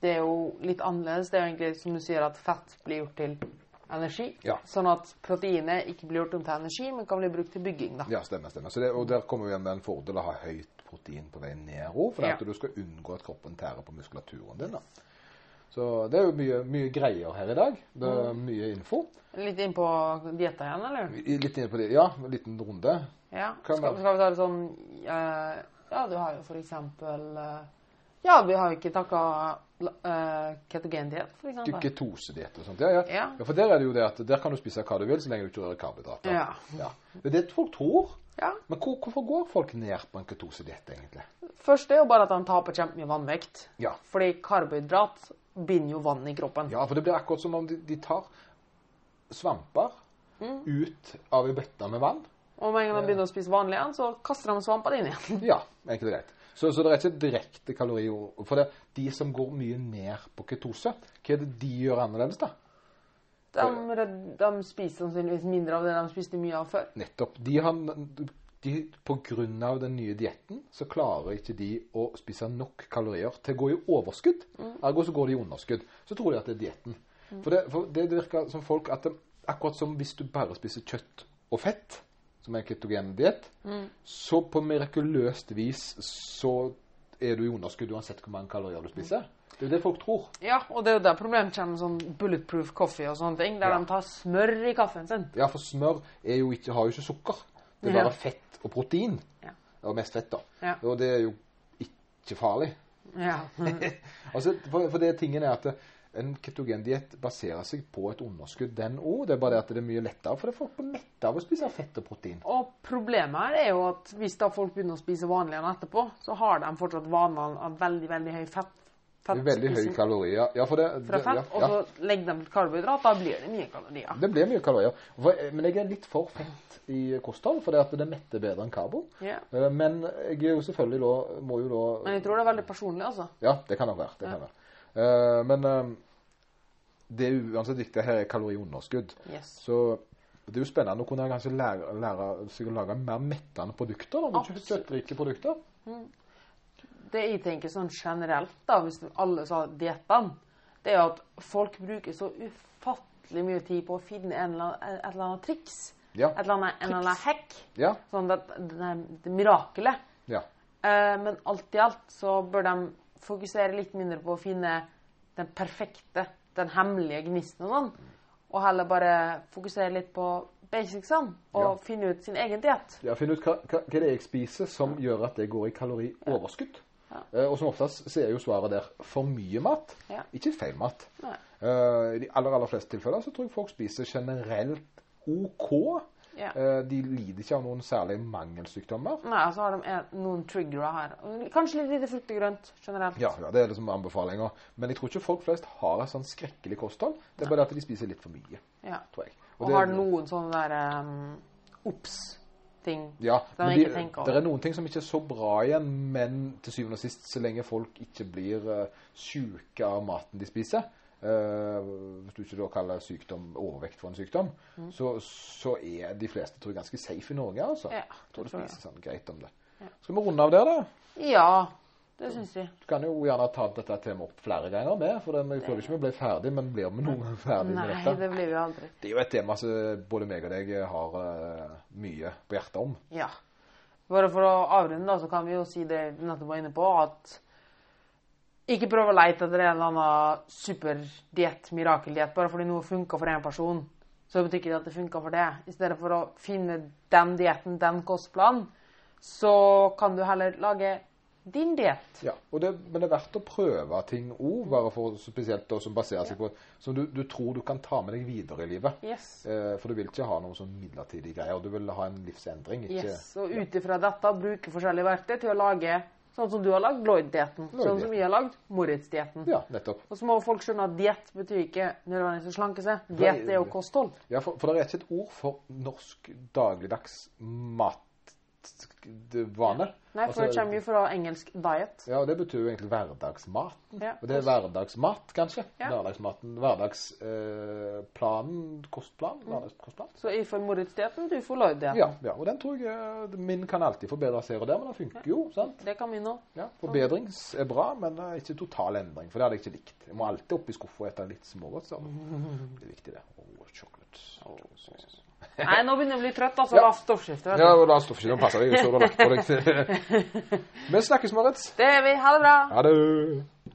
[SPEAKER 2] Det er jo litt annerledes. Det er jo egentlig som du sier, at fett blir gjort til energi.
[SPEAKER 1] Ja.
[SPEAKER 2] Sånn at proteinet ikke blir gjort om til energi, men kan bli brukt til bygging, da.
[SPEAKER 1] Ja, stemmer. stemmer. Så det, og der kommer vi igjen med en fordel å ha høyt protein på vei nedover, for
[SPEAKER 2] Ja.
[SPEAKER 1] at du skal unngå at kroppen tærer på muskulaturen din. da. Så det er jo mye, mye greier her i dag. Det er
[SPEAKER 2] Mm.
[SPEAKER 1] Mye info.
[SPEAKER 2] Litt inn på dietta igjen, eller?
[SPEAKER 1] I- Litt inne på det. Ja, en liten runde.
[SPEAKER 2] Ja.
[SPEAKER 1] Kan
[SPEAKER 2] Skal,
[SPEAKER 1] være.
[SPEAKER 2] skal vi ta det sånn eh, Ja, du har jo for eksempel eh, Ja, vi har jo ikke takka uh, ketogendiett, for eksempel.
[SPEAKER 1] Ketosediett og sånt. Ja, ja.
[SPEAKER 2] Ja.
[SPEAKER 1] ja, for der er det jo det at der kan du spise hva du vil, så lenge du ikke rører karbohydrater.
[SPEAKER 2] Ja.
[SPEAKER 1] Ja. Det er det folk tror.
[SPEAKER 2] Ja.
[SPEAKER 1] Men hvor, hvorfor går folk ned på en ketosediett, egentlig?
[SPEAKER 2] Først er jo bare at han taper kjempemye vannvekt.
[SPEAKER 1] Ja.
[SPEAKER 2] Fordi karbohydrat binder jo vann i kroppen.
[SPEAKER 1] Ja, for det blir akkurat som om de, de tar svamper ut av ei bøtte med vann.
[SPEAKER 2] Og med en gang han begynner å spise vanlig igjen, så kaster han svampene inn
[SPEAKER 1] [LAUGHS]
[SPEAKER 2] igjen.
[SPEAKER 1] Ja, enkelt og greit. Så, så det er ikke direkte kalorier. For det, de som går mye ned på ketose, hva er det de gjør annerledes, da?
[SPEAKER 2] De, red- de spiser sannsynligvis mindre av det de spiste mye av før.
[SPEAKER 1] Nettopp. De har, de, på grunn av den nye dietten så klarer ikke de å spise nok kalorier til å gå i overskudd. Ergo så går de i underskudd. Så tror de at det er dietten. For, det, for det virker som folk at det, akkurat som hvis du bare spiser kjøtt og fett, som er en ketogendiett, så på mirakuløst vis så er du i underskudd uansett hvor mange kalorier du spiser. Det er jo det folk tror.
[SPEAKER 2] Ja, og det er jo der problemet kommer med sånn bulletproof coffee og sånne ting, der
[SPEAKER 1] Ja.
[SPEAKER 2] de tar smør i kaffen sin.
[SPEAKER 1] Ja, for smør er jo ikke, har jo ikke sukker. Det er
[SPEAKER 2] Ja.
[SPEAKER 1] bare fett og protein.
[SPEAKER 2] Ja.
[SPEAKER 1] Og mest fett, da.
[SPEAKER 2] Ja.
[SPEAKER 1] Og det er jo ikke farlig.
[SPEAKER 2] Ja. [LAUGHS]
[SPEAKER 1] [LAUGHS] altså, for, for det tingen er at eh, en ketogendiett baserer seg på et underskudd, den òg. Det er bare det at det er mye lettere, for det er folk blir mette av å spise fett og protein.
[SPEAKER 2] Og problemet her er jo at hvis da folk begynner å spise vanlig igjen etterpå, så har de fortsatt vanene av veldig, veldig høy fett.
[SPEAKER 1] Det er veldig høye
[SPEAKER 2] fettspising
[SPEAKER 1] kalorier. Ja, for det,
[SPEAKER 2] fra
[SPEAKER 1] det,
[SPEAKER 2] fett,
[SPEAKER 1] ja, ja.
[SPEAKER 2] Og så legger de til karbohydrat, da blir det mye kalorier.
[SPEAKER 1] det blir mye kalorier. For, eh, men jeg er litt for fett i kosthold, for det, at det metter bedre enn karbo.
[SPEAKER 2] Ja.
[SPEAKER 1] Eh, Men jeg er jo selvfølgelig da, må jo da
[SPEAKER 2] Men jeg tror det er veldig personlig, altså.
[SPEAKER 1] Ja, det kan nok være. Det kan være. Eh, men eh, det er uansett viktig her er kaloriunderskudd.
[SPEAKER 2] Yes.
[SPEAKER 1] Så Det er jo spennende å kunne kanskje lære, lære seg å lage mer mettende produkter. da, men ikke
[SPEAKER 2] Absolutt.
[SPEAKER 1] Kjøttrike produkter.
[SPEAKER 2] Det jeg tenker sånn generelt, da, hvis alle sa diettene, det er jo at folk bruker så ufattelig mye tid på å finne en eller annen, et eller annet triks.
[SPEAKER 1] Ja.
[SPEAKER 2] Et eller annet, en eller annen hack.
[SPEAKER 1] Ja.
[SPEAKER 2] Sånn at det, er- det er mirakelet.
[SPEAKER 1] ja.
[SPEAKER 2] Eh, men alt i alt så bør de fokusere litt mindre på å finne den perfekte, den hemmelige gnisten og sånn. Og heller bare fokusere litt på basicsene og
[SPEAKER 1] Ja.
[SPEAKER 2] finne ut sin egen diett.
[SPEAKER 1] ja Finn ut hva, hva, hva det er jeg spiser som gjør at jeg går i kalorioverskudd. Eh, og som oftest så er jo svaret der for mye mat,
[SPEAKER 2] Ja.
[SPEAKER 1] ikke feil mat.
[SPEAKER 2] Nei.
[SPEAKER 1] Eh, I de aller, aller fleste tilfeller så tror jeg folk spiser generelt OK.
[SPEAKER 2] Ja.
[SPEAKER 1] Eh, de lider ikke av noen særlige mangelsykdommer.
[SPEAKER 2] Nei, så har de en, noen triggere her. Kanskje litt lite frukt og grønt generelt.
[SPEAKER 1] Ja, ja, det er liksom anbefalinger. Men jeg tror ikke folk flest har et sånn skrekkelig kosthold. Det er bare det at de spiser litt for mye,
[SPEAKER 2] Ja.
[SPEAKER 1] tror jeg.
[SPEAKER 2] Og, har noen sånne der um, obs-ting
[SPEAKER 1] ja,
[SPEAKER 2] som
[SPEAKER 1] men
[SPEAKER 2] jeg
[SPEAKER 1] de,
[SPEAKER 2] ikke tenker
[SPEAKER 1] det
[SPEAKER 2] over.
[SPEAKER 1] er noen ting som ikke er så bra igjen, men til syvende og sist, så lenge folk ikke blir eh, syke av maten de spiser, eh, hvis du ikke da kaller sykdom overvekt for en sykdom,
[SPEAKER 2] Mm.
[SPEAKER 1] så, så er de fleste tror jeg, ganske safe i Norge. altså.
[SPEAKER 2] Ja,
[SPEAKER 1] jeg tror
[SPEAKER 2] det
[SPEAKER 1] det
[SPEAKER 2] tror jeg.
[SPEAKER 1] spiser sånn greit om det. Skal vi runde av der, da?
[SPEAKER 2] Ja, det syns vi.
[SPEAKER 1] Du kan jo gjerne ta dette temaet opp flere ganger med, for det, jeg føler ikke vi ble ferdig, men blir vi noen gang [LAUGHS] ferdig med
[SPEAKER 2] Nei,
[SPEAKER 1] dette?
[SPEAKER 2] det blir vi aldri.
[SPEAKER 1] Det er jo et tema som både meg og deg har eh, mye på hjertet om.
[SPEAKER 2] Ja. Bare for å avrunde, da, så kan vi jo si det vi nettopp var inne på, at ikke prøv å leite etter en eller annen superdiett, mirakeldiett, bare fordi noe funka for én person. Så betyr ikke det at det funka for det. I stedet for å finne den dietten, den kostplanen, så kan du heller lage din diett.
[SPEAKER 1] Ja, og det, men det er verdt å prøve ting òg, bare for spesielt da, som baserer seg på Som du, du tror du kan ta med deg videre i livet.
[SPEAKER 2] Yes.
[SPEAKER 1] Eh, for du vil ikke ha noen sånn midlertidige greier. Du vil ha en livsendring, ikke
[SPEAKER 2] Yes, og ut ifra dette bruke forskjellige verktøy til å lage sånn som du har lagd Lloyd-dietten. Sånn som vi har lagd Moritz-dietten.
[SPEAKER 1] Ja, nettopp.
[SPEAKER 2] Og så må folk skjønne at diett betyr ikke nødvendigvis å slanke seg. Diett er jo kosthold.
[SPEAKER 1] Ja, for, for det er ikke et ord for norsk dagligdags matvane.
[SPEAKER 2] Nei, for
[SPEAKER 1] Altså,
[SPEAKER 2] det kommer jo fra engelsk 'diet'.
[SPEAKER 1] Ja, og det betyr jo egentlig hverdagsmaten.
[SPEAKER 2] Ja.
[SPEAKER 1] og det er hverdagsmat, kanskje.
[SPEAKER 2] Ja.
[SPEAKER 1] Hverdagsmaten, hverdagsplanen, kostplan, hverdagskostplan.
[SPEAKER 2] Så jeg får Moritz-dietten, du får Lloyd-dietten.
[SPEAKER 1] Ja, ja, og den tror jeg eh, Min kan alltid forbedres her og der, men den funker jo. sant?
[SPEAKER 2] Det kan vi
[SPEAKER 1] [LAUGHS]
[SPEAKER 2] nå.
[SPEAKER 1] Ja, Forbedring er bra, men eh, ikke total endring, for det hadde jeg ikke likt. Jeg må alltid opp i skuffa og ete litt smågodt.
[SPEAKER 2] [LAUGHS]
[SPEAKER 1] Så. Det er viktig, det. Oh, chocolate.
[SPEAKER 2] Nei, nå begynner jeg å bli trøtt, altså.
[SPEAKER 1] Ja.
[SPEAKER 2] La stoffskifte. vet du.
[SPEAKER 1] Ja, og La stoffskinnene
[SPEAKER 2] [LAUGHS]
[SPEAKER 1] passe deg. Jeg så du har lagt på deg. Vi snakkes, Marit.
[SPEAKER 2] Det er vi. Ha det bra.
[SPEAKER 1] Ha det.